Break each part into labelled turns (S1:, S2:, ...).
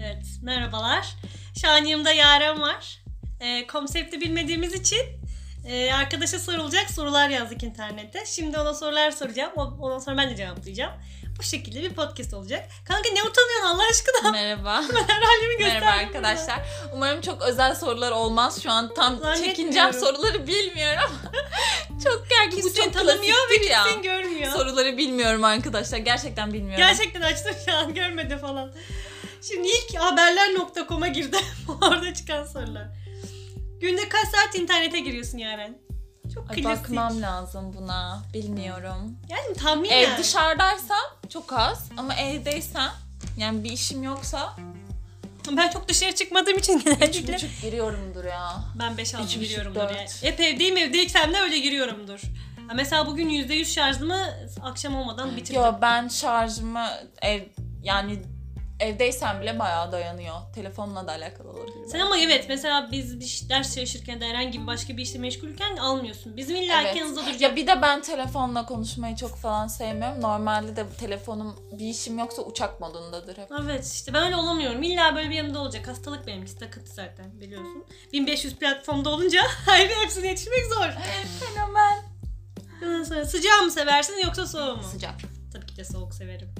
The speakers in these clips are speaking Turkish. S1: Evet, merhabalar. Şu an yanımda Yaren var. Ee, konsepti bilmediğimiz için e, arkadaşa sorulacak sorular yazdık internette. Şimdi ona sorular soracağım. o- Ondan sonra ben de cevaplayacağım. Bu şekilde bir podcast olacak. Kanka ne utanıyorsun Allah aşkına?
S2: Merhaba.
S1: Her halimi göster.
S2: Merhaba arkadaşlar. Umarım çok özel sorular olmaz. Şu an tam
S1: Zannetmiyorum.
S2: çekineceğim soruları bilmiyorum. çok gerçi bu
S1: Kimse
S2: çok
S1: tanımıyor ve
S2: klasiktir ya.
S1: kimse görmüyor.
S2: Soruları bilmiyorum arkadaşlar. Gerçekten bilmiyorum.
S1: Gerçekten açtım şu an görmedi falan. Şimdi ilk haberler.com'a girdim. Orada çıkan sorular. Günde kaç saat internete giriyorsun Yaren? Çok
S2: Ay,
S1: klasik.
S2: bakmam lazım buna. Bilmiyorum.
S1: Yani tahmin
S2: Ev
S1: yani.
S2: dışarıdaysam çok az ama evdeysem yani bir işim yoksa
S1: Ben çok dışarı çıkmadığım için
S2: üç
S1: genellikle.
S2: buçuk giriyorumdur ya.
S1: Ben 5 6
S2: üç buçuk,
S1: giriyorumdur
S2: dört.
S1: yani. Hep evdeyim evdeyksem de öyle giriyorumdur. Ha, mesela bugün %100 şarjımı akşam olmadan bitirdim.
S2: Yo ben şarjımı ev yani evdeysem bile bayağı dayanıyor. Telefonla da alakalı olabilir.
S1: Sen ama evet mesela biz bir ş- ders çalışırken de herhangi bir başka bir işle meşgulken almıyorsun. Bizim illa
S2: Evet.
S1: evet. yanınızda duracak.
S2: Ya bir de ben telefonla konuşmayı çok falan sevmiyorum. Normalde de telefonum bir işim yoksa uçak modundadır hep.
S1: Evet işte ben öyle olamıyorum. İlla böyle bir yanımda olacak. Hastalık benimkisi takıntı zaten biliyorsun. 1500 platformda olunca her bir hepsine yetişmek zor.
S2: Fenomen.
S1: Ondan sonra sıcağı mı seversin yoksa soğuğu mu?
S2: Sıcak.
S1: Tabii ki de soğuk severim.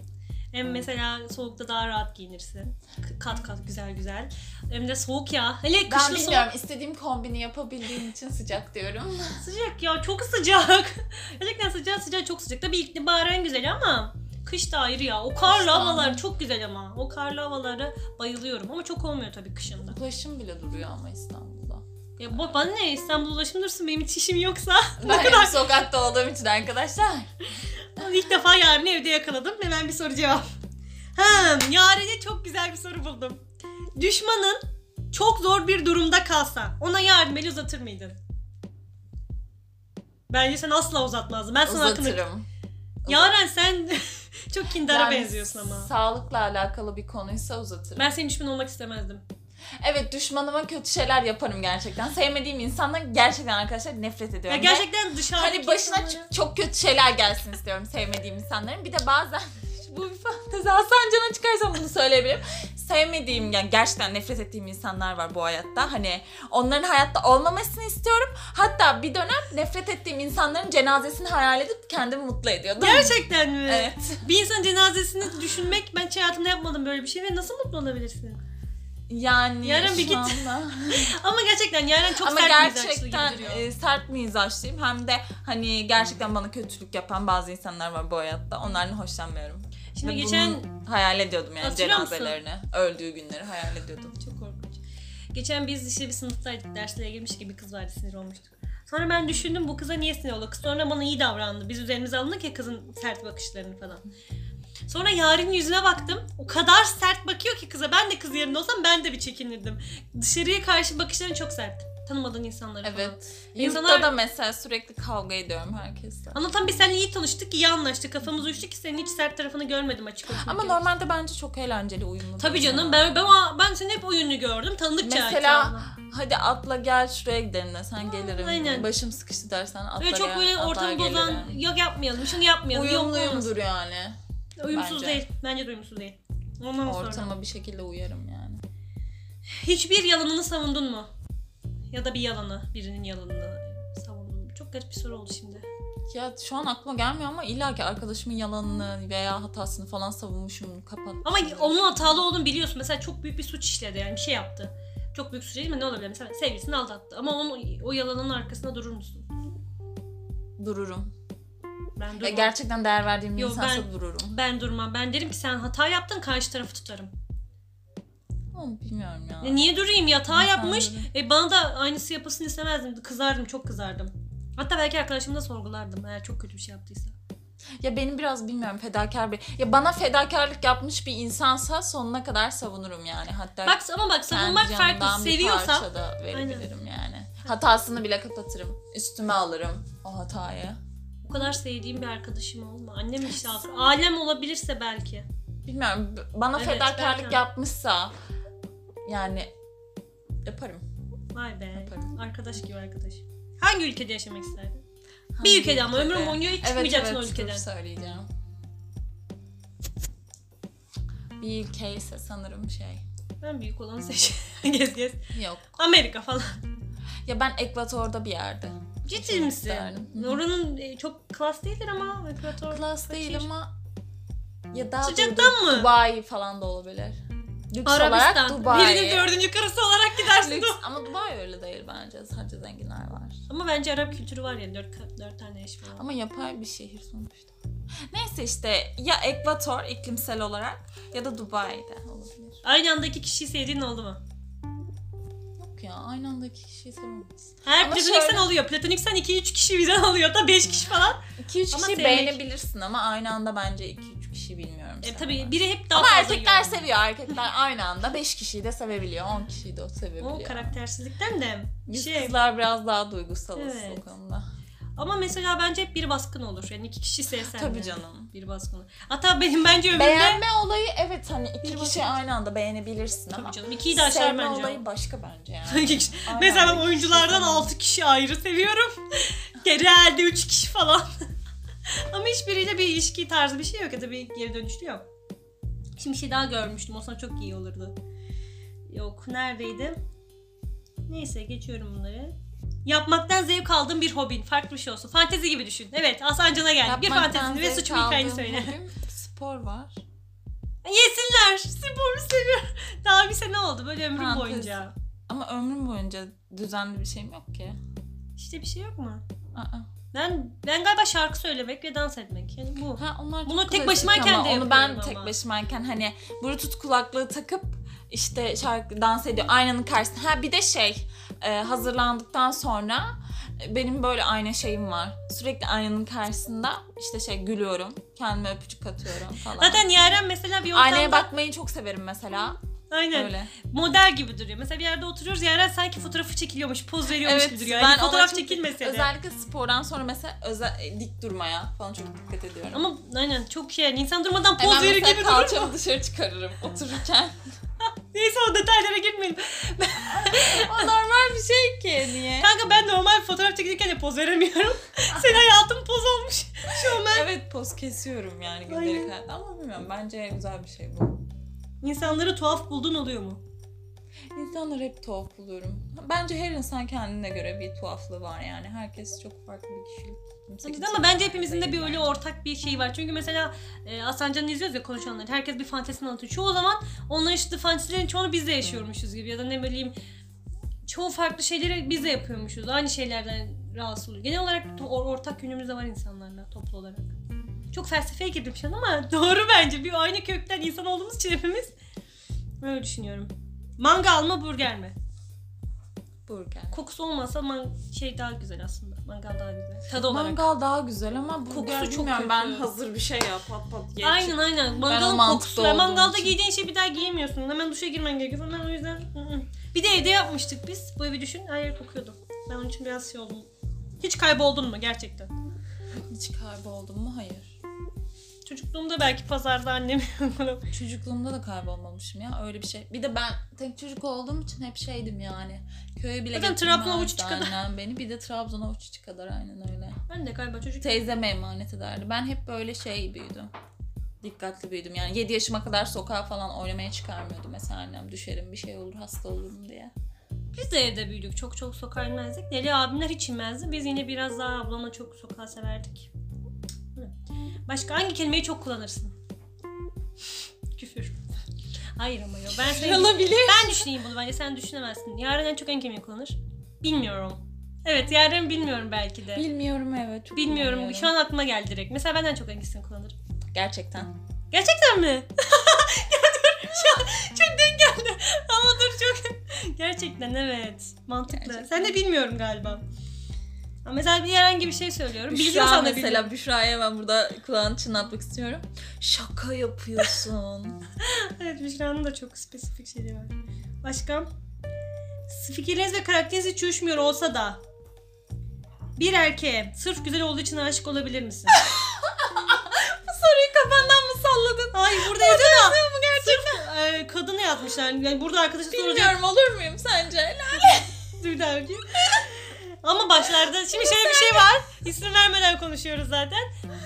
S1: Hem mesela soğukta daha rahat giyinirsin. K- Kat kat güzel güzel. Hem de soğuk ya. Hele
S2: Ben
S1: kışın soğuk.
S2: bilmiyorum. istediğim kombini yapabildiğim için sıcak diyorum.
S1: Sıcak ya çok sıcak. Gerçekten sıcak sıcak çok sıcak. Tabii ilkbaharın güzel ama kış da ayrı ya. O karlı
S2: Kış da
S1: havalar
S2: ayrı.
S1: çok güzel ama. O karlı havalara bayılıyorum ama çok olmuyor tabii kışında.
S2: Ulaşım bile duruyor ama İstanbul'da.
S1: Ya bu- bana ne İstanbul ulaşım dursun benim hiç işim yoksa.
S2: Ben hep sokakta olduğum için arkadaşlar.
S1: İlk defa yarını evde yakaladım. Hemen bir soru cevap. Hmm, yarene çok güzel bir soru buldum. Düşmanın çok zor bir durumda kalsa ona yardım eli uzatır mıydın? Bence sen asla uzatmazdın. Ben sana hakkını...
S2: Uzatırım.
S1: Yaren sen çok kindara
S2: Yani
S1: benziyorsun ama.
S2: Sağlıkla alakalı bir konuysa uzatırım.
S1: Ben senin düşman olmak istemezdim.
S2: Evet düşmanıma kötü şeyler yaparım gerçekten. Sevmediğim insandan gerçekten arkadaşlar nefret
S1: Ya
S2: ediyorum. Ve-
S1: gerçekten dışarıdaki
S2: Hani başına
S1: insanlara-
S2: ç- çok kötü şeyler gelsin istiyorum sevmediğim insanların. Bir de bazen bu bir fantezi Hasan Can'a çıkarsam bunu söyleyebilirim. Sevmediğim yani gerçekten nefret ettiğim insanlar var bu hayatta. Hani onların hayatta olmamasını istiyorum. Hatta bir dönem nefret ettiğim insanların cenazesini hayal edip kendimi mutlu ediyordum.
S1: Gerçekten mi?
S2: Evet.
S1: Bir insanın cenazesini düşünmek ben hiç hayatımda yapmadım böyle bir şey ve nasıl mutlu olabilirsin?
S2: Yani
S1: Yarın bir
S2: şu
S1: git.
S2: anda-
S1: Ama gerçekten Yaren çok
S2: Ama
S1: sert mizaçlı
S2: gerçekten
S1: gibi duruyor.
S2: e, sert mizaçlıyım. Hem de hani gerçekten bana kötülük yapan bazı insanlar var bu hayatta. Onlardan hoşlanmıyorum.
S1: Şimdi
S2: Ve
S1: geçen
S2: bunu hayal ediyordum yani
S1: Hatırlıyor musun?
S2: cenazelerini. Öldüğü günleri hayal ediyordum.
S1: çok korkunç. Geçen biz işte bir sınıftaydık. Derslere girmiş gibi kız vardı sinir olmuştuk. Sonra ben düşündüm bu kıza niye sinir oldu? Kız sonra bana iyi davrandı. Biz üzerimize alındık ya kızın sert bakışlarını falan. Sonra Yaren'in yüzüne baktım. O kadar sert bakıyor ki kıza. Ben de kız yerinde olsam ben de bir çekinirdim. Dışarıya karşı bakışların çok sert. Tanımadığın insanlara falan.
S2: Evet.
S1: İnsanlar-
S2: Yurtta da mesela sürekli kavga ediyorum herkesle.
S1: Anlatan biz seninle iyi tanıştık, iyi anlaştık. Kafamız uyuştu ki senin hiç sert tarafını görmedim açık konuşmak
S2: Ama
S1: gerekirse.
S2: normalde bence çok eğlenceli uyumlu. bir
S1: Tabii
S2: insan.
S1: canım ben, ben, ben seni hep oyunlu gördüm. Tanıdıkça
S2: Mesela hadi atla gel şuraya gidelim de sen gelirim.
S1: aynen.
S2: Başım sıkıştı dersen atla
S1: Böyle
S2: gel.
S1: çok böyle
S2: atlar
S1: ortamı bozan
S2: gelirim.
S1: yok yapmayalım, şunu yapmayalım. yok
S2: Uyumlu
S1: olmaz.
S2: uyumdur yani.
S1: Uyumsuz
S2: bence.
S1: değil. Bence de uyumsuz değil. Ondan sonra.
S2: Ortama bir şekilde uyarım yani.
S1: Hiçbir yalanını savundun mu? Ya da bir yalanı, birinin yalanını savundun mu? Çok garip bir soru oldu şimdi.
S2: Ya şu an aklıma gelmiyor ama illa ki arkadaşımın yalanını veya hatasını falan savunmuşum kapat.
S1: Ama onun hatalı olduğunu biliyorsun. Mesela çok büyük bir suç işledi yani bir şey yaptı. Çok büyük suç değil mi? Ne olabilir? Mesela sevgilisini aldattı. Ama onun o yalanın arkasında durur musun?
S2: dururum.
S1: Ben
S2: Ya
S1: durmam.
S2: gerçekten değer verdiğim bir
S1: Yo,
S2: insansa
S1: ben-
S2: dururum.
S1: ben durmam. Ben derim ki sen hata yaptın karşı tarafı tutarım.
S2: Ama bilmiyorum ya.
S1: E niye durayım? Yatağı
S2: İnsan
S1: yapmış.
S2: böyle.
S1: E bana da aynısı yapasını istemezdim. Kızardım, çok kızardım. Hatta belki arkadaşımı da sorgulardım eğer çok kötü bir şey yaptıysa.
S2: Ya benim biraz bilmiyorum fedakar bir. Ya bana fedakarlık yapmış bir insansa sonuna kadar savunurum yani. Hatta
S1: Bak ama bak
S2: kendi
S1: savunmak
S2: canımdan
S1: farklı.
S2: bir
S1: Seviyorsan
S2: parça da verebilirim yani. Hatasını bile kapatırım. Üstüme alırım o hatayı.
S1: o kadar sevdiğim bir arkadaşım olma. Annem işte alır. Alem olabilirse belki.
S2: Bilmiyorum b- bana
S1: Evet,
S2: fedakarlık
S1: belki.
S2: yapmışsa yani yaparım.
S1: Vay be.
S2: Yaparım.
S1: Arkadaş gibi arkadaş. Hangi ülkede yaşamak isterdin? Bir ülkede ama ömrüm boyunca hiç çıkmayacaksın o ülkeden.
S2: dur söyleyeceğim. Bir ülke ise sanırım şey.
S1: Ben büyük olanı seçiyorum. gez gez.
S2: Yok.
S1: Amerika falan.
S2: Ya ben Ekvator'da bir yerde.
S1: Ciddi misin?
S2: isterdim. Hı.
S1: Oranın e, çok klas değildir ama ekvator.
S2: Klas değil ama ya daha
S1: Sıcaktan
S2: doğrusu
S1: mı?
S2: Dubai falan da olabilir. Lüks olarak
S1: Arabistan.
S2: Dubai.
S1: Birinin dördüncü karısı olarak gidersin.
S2: Lüks ama Dubai öyle değil bence. Sadece zenginler var.
S1: ama bence Arap kültürü var ya dört, dört tane eş falan.
S2: Ama yapay bir şehir sonuçta. Neyse işte ya Ekvator iklimsel olarak ya da Dubai'de olabilir.
S1: Aynı anda iki kişiyi sevdiğin oldu mu?
S2: Yok ya aynı anda iki kişiyi sevemez.
S1: Her
S2: Ama
S1: platoniksen
S2: şöyle-
S1: oluyor. Platoniksen 2-3 kişi birden oluyor da 5 kişi falan.
S2: İki üç
S1: Ama
S2: kişiyi
S1: sevmek-
S2: beğenebilirsin ama aynı anda bence iki üç kişi bilmiyorum.
S1: E,
S2: sevmem.
S1: tabii biri hep daha
S2: Ama
S1: fazla
S2: erkekler
S1: görüyor.
S2: seviyor. Erkekler aynı anda 5 kişiyi de sevebiliyor. 10 kişiyi de
S1: O
S2: sevebiliyor.
S1: karaktersizlikten de
S2: Biz
S1: şey.
S2: kızlar biraz daha duygusalız
S1: Evet.
S2: o konuda.
S1: Ama mesela bence hep bir baskın olur. Yani iki kişi sevsen.
S2: Tabii
S1: de.
S2: canım.
S1: Bir baskın olur. Hatta benim bence ömrümde...
S2: Beğenme olayı evet hani
S1: Bir
S2: iki
S1: bakın.
S2: kişi aynı anda beğenebilirsin ama.
S1: Tabii canım. ikiyi de aşar
S2: sevme
S1: bence. o.
S2: olayı başka bence yani.
S1: İki kişi.
S2: Aynen,
S1: Mesela ben
S2: iki kişi
S1: oyunculardan
S2: falan.
S1: 6 kişi ayrı seviyorum. Geri elde 3 kişi falan. Ama hiçbiriyle bir ilişki tarzı bir şey yok ya da bir geri dönüşlü yok. Şimdi bir şey daha görmüştüm. Olsa çok iyi olurdu. Yok neredeydi? Neyse geçiyorum bunları. Yapmaktan zevk aldığın bir hobin. Farklı bir şey olsun. Fantezi gibi düşün. Evet Asancan'a geldik. bir
S2: Yapmaktan
S1: fantezini ve
S2: zevk
S1: suçun hikayeni
S2: aldığım
S1: söyle.
S2: hobim Spor var.
S1: Yesinler. Sporu seviyorum. Daha bir sene oldu böyle ömrüm
S2: Fantezi.
S1: boyunca.
S2: Ama ömrüm boyunca düzenli bir şeyim yok ki.
S1: İşte bir şey yok mu?
S2: Aa.
S1: Ben ben galiba şarkı söylemek ve dans etmek. Yani bu.
S2: Ha onlar
S1: Bunu
S2: çok
S1: tek
S2: klasik
S1: başımayken
S2: ama
S1: de
S2: onu ben
S1: yapıyorum ama.
S2: tek başımayken hani bluetooth kulaklığı takıp işte şarkı dans ediyor aynanın karşısında. Ha bir de şey e, hazırlandıktan sonra e, benim böyle ayna şeyim var. Sürekli aynanın karşısında işte şey gülüyorum. Kendime öpücük atıyorum falan.
S1: Zaten Yaren mesela bir ortamda
S2: Aynaya bakmayı çok severim mesela.
S1: aynen
S2: Öyle.
S1: model gibi duruyor. Mesela bir yerde oturuyoruz Yaren sanki fotoğrafı çekiliyormuş, poz veriyormuş gibi duruyor.
S2: ben
S1: Yani
S2: ona
S1: fotoğraf
S2: çok-
S1: çekilmese de.
S2: Özellikle spordan sonra mesela özel, e, dik durmaya falan çok dikkat ediyorum.
S1: Ama aynen çok şey. yani insan durmadan
S2: E, ben
S1: poz verir
S2: mesela
S1: gibi durur.
S2: kalçamı dışarı çıkarırım otururken.
S1: Neyse o detaylara girmeyelim.
S2: o normal bir şey ki niye?
S1: Kanka ben normal fotoğraf çekilirken de poz veremiyorum. Senin hayatın poz olmuş.
S2: Evet poz kesiyorum yani
S1: Aynen.
S2: gündelik hayatta ama bilmiyorum bence güzel bir şey bu.
S1: İnsanları tuhaf buldun oluyor mu?
S2: İnsanları hep tuhaf buluyorum. Bence her insan kendine göre bir tuhaflığı var yani. Herkes çok farklı bir kişilik. Kimse
S1: Tabii
S2: kimse
S1: ama bence
S2: aynı
S1: hepimizin de
S2: değil
S1: bir öyle
S2: bence.
S1: ortak bir şey var. Çünkü mesela e, Asancan'ı izliyoruz ya konuşanları. Herkes bir fantezisini anlatıyor. Çoğu zaman onların işte fantezilerin çoğunu biz de yaşıyormuşuz gibi. Ya da ne bileyim çoğu farklı şeyleri biz de yapıyormuşuz. Aynı şeylerden rahatsız oluyor. Genel olarak to- or- ortak yönümüz de var insanlarla toplu olarak. Çok felsefeye girdim şu an ama doğru bence. Bir aynı kökten insan olduğumuz için hepimiz. Böyle düşünüyorum. Mangal mı burger mi?
S2: Burger.
S1: Kokusu olmasa man- şey daha güzel aslında. Mangal daha güzel. Tadı olarak.
S2: Mangal daha güzel ama burger
S1: Kokusu çok
S2: bilmiyorum
S1: kötü.
S2: ben hazır bir şey yap pat pat ye.
S1: Aynen aynen.
S2: o
S1: Mangalın
S2: mantıklı
S1: kokusu. Ya mangalda
S2: olduğum için.
S1: giydiğin şeyi bir daha giyemiyorsun. Hemen duşa girmen gerekiyor falan. O yüzden ı ı. Bir de evde yapmıştık biz. Bu evi düşün. Her yer kokuyordu. Ben onun için biraz şey oldum. Hiç kayboldun mu gerçekten?
S2: Hiç kayboldum mu? Hayır.
S1: Çocukluğumda belki pazarda annem bana
S2: Çocukluğumda da kaybolmamışım ya öyle bir şey. Bir de ben tek çocuk olduğum için hep şeydim yani. Köye bile
S1: Zaten Trabzon
S2: getirmezdi
S1: avuççu kadar.
S2: annem beni. Bir de Trabzon avuççu kadar aynen öyle.
S1: Ben de galiba çocuk.
S2: teyzeme emanet ederdi. Ben hep böyle şey büyüdüm. Dikkatli büyüdüm. Yani 7 yaşıma kadar sokağa falan oynamaya çıkarmıyordu mesela annem. Düşerim bir şey olur hasta olurum diye.
S1: Biz de evde büyüdük. Çok çok sokağa inmezdik. Deli abimler hiç inmezdi. Biz yine biraz daha ablamla çok sokağa severdik. Hı. Başka hangi kelimeyi çok kullanırsın? Küfür. Hayır ama yok. Ben seni
S2: Olabilir.
S1: Ben düşüneyim bunu bence sen düşünemezsin. Yaren en çok en kim kullanır? Bilmiyorum. Evet Yaren bilmiyorum belki de.
S2: Bilmiyorum evet. Çok
S1: bilmiyorum. Şu
S2: bilmiyorum.
S1: an aklıma geldi direkt. Mesela benden çok hangisini kullanırım?
S2: Gerçekten.
S1: Gerçekten mi? ya dur şu an çok denk geldi. Ama dur çok. Gerçekten evet. Mantıklı.
S2: Gerçekten.
S1: Sen de bilmiyorum galiba. Ama mesela bir herhangi bir şey söylüyorum.
S2: Büşra
S1: Biliyorsan da
S2: mesela
S1: mesela.
S2: Büşra'ya ben burada kulağını çınlatmak istiyorum. Şaka yapıyorsun.
S1: Evet Büşra'nın da çok spesifik şeyleri var. Başka? Fikirleriniz ve karakteriniz hiç uyuşmuyor olsa da bir erkeğe sırf güzel olduğu için aşık olabilir misin?
S2: Bu soruyu kafandan mı salladın?
S1: Ay burada yazıyor da. Sırf e, kadını yazmışlar. Yani burada arkadaşı soracak.
S2: Bilmiyorum olur muyum sence?
S1: Dur bir dakika. Ama başlarda şimdi şöyle bir şey var. İsim vermeden konuşuyoruz zaten.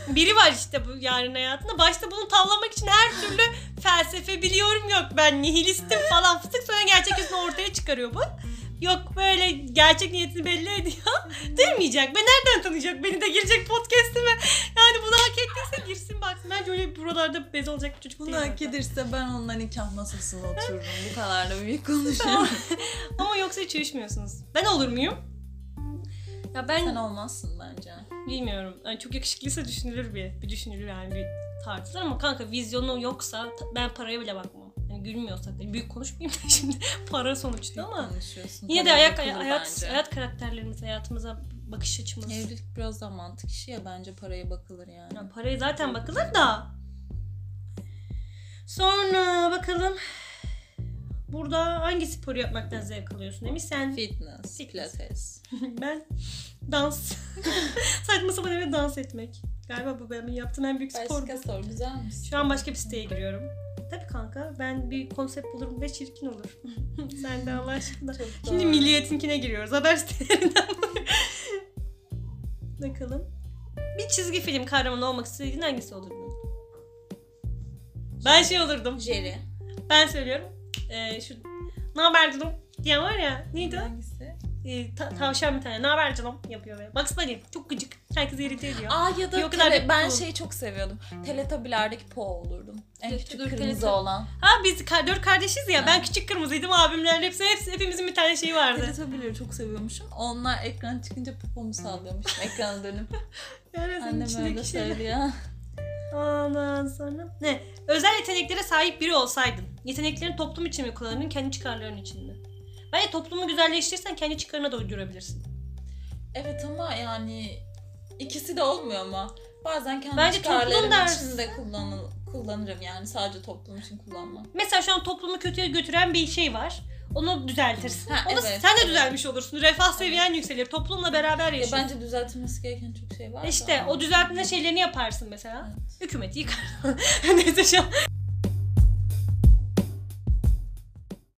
S1: biri var işte bu yarın hayatında. Başta bunu tavlamak için her türlü felsefe biliyorum yok ben nihilistim falan fıstık sonra gerçek yüzünü ortaya çıkarıyor bu. Yok böyle gerçek niyetini belli ediyor. Duymayacak. Ben nereden tanıyacak? Beni de girecek podcast'ime. Yani bunu hak ettiyse girsin baksın. Bence öyle buralarda bez olacak bir çocuk
S2: Bunu
S1: değil
S2: hak
S1: zaten.
S2: edirse ben onunla nikah masasına otururum. Bu kadar da büyük konuşuyorum.
S1: Ama yoksa hiç uyuşmuyorsunuz. Ben olur muyum? Ya ben
S2: Sen olmazsın bence.
S1: bilmiyorum. Yani çok yakışıklıysa düşünülür bir. Bir düşünülür yani bir tartışılır ama kanka vizyonu yoksa ta- ben paraya bile bakmam. Yani gülmüyorsak da büyük konuşmayayım da şimdi para sonuçta ama.
S2: konuşuyorsun.
S1: Yine de
S2: Tabii
S1: ayak,
S2: okulu
S1: hayat,
S2: bence.
S1: hayat karakterlerimiz, hayatımıza bakış açımız.
S2: Evlilik biraz da mantık işi ya bence paraya bakılır yani.
S1: Yani paraya zaten bakılır da. Sonra bakalım. Burada hangi sporu yapmaktan zevk alıyorsun demiş. Sen
S2: Fitness,
S1: Fitness.
S2: pilates.
S1: Ben dans. Saçma sapan eve dans etmek. Galiba bu benim yaptığım en büyük spor. bu.
S2: sor güzel misin?
S1: Şu an başka bir siteye giriyorum. Tabii kanka ben bir konsept bulurum ve çirkin olur. Sen de Allah aşkına.
S2: Çok
S1: Şimdi
S2: doğru.
S1: milliyetinkine giriyoruz. Haber sitelerinden Bakalım. Bir çizgi film kahramanı olmak istediğin hangisi olurdu? Ben şey olurdum.
S2: Jerry.
S1: Ben söylüyorum. Ee, şu ne haber canım diyen var ya. Neydi o?
S2: Hangisi?
S1: e, ta- tavşan bir tane. Ne haber canım yapıyor böyle. Bugs Bunny çok gıcık. Herkesi irite ediyor.
S2: Aa ya da
S1: Yok, o kadar
S2: tele-
S1: da-
S2: ben
S1: bu.
S2: şeyi çok seviyordum. Teletabilardeki Po olurdum. En
S1: Dur,
S2: küçük
S1: dur,
S2: kırmızı
S1: Teletub-
S2: olan.
S1: Ha biz ka- dört kardeşiz ya.
S2: Ha.
S1: Ben küçük kırmızıydım. Abimler hepsi, hepsi hepimizin bir tane şeyi vardı.
S2: Teletabileri çok seviyormuşum. Onlar ekran çıkınca popomu sallıyormuşum ekrana dönüp.
S1: Yani senin
S2: Annem öyle
S1: içindeki şeyler.
S2: söylüyor.
S1: Ondan sonra ne? Özel yeteneklere sahip biri olsaydın. Yeteneklerin toplum için mi kullanırdın, kendi çıkarların için mi? Bence toplumu güzelleştirirsen kendi çıkarına da uydurabilirsin.
S2: Evet ama yani ikisi de olmuyor mu? Bazen kendi
S1: Bence toplum
S2: çıkarlarım
S1: dersi.
S2: için de kullanıl- kullanırım yani sadece toplum için kullanmam.
S1: Mesela şu an toplumu kötüye götüren bir şey var. Onu düzeltirsin.
S2: Ha,
S1: Onu
S2: evet,
S1: sen de
S2: evet.
S1: düzelmiş olursun. Refah seviyen yükselir. Toplumla beraber
S2: Ya
S1: yaşarsın.
S2: bence düzeltilmesi gereken çok şey var. da.
S1: İşte o düzeltme şeylerini yaparsın mesela.
S2: Evet.
S1: Hükümeti yıkar. Neyse şu an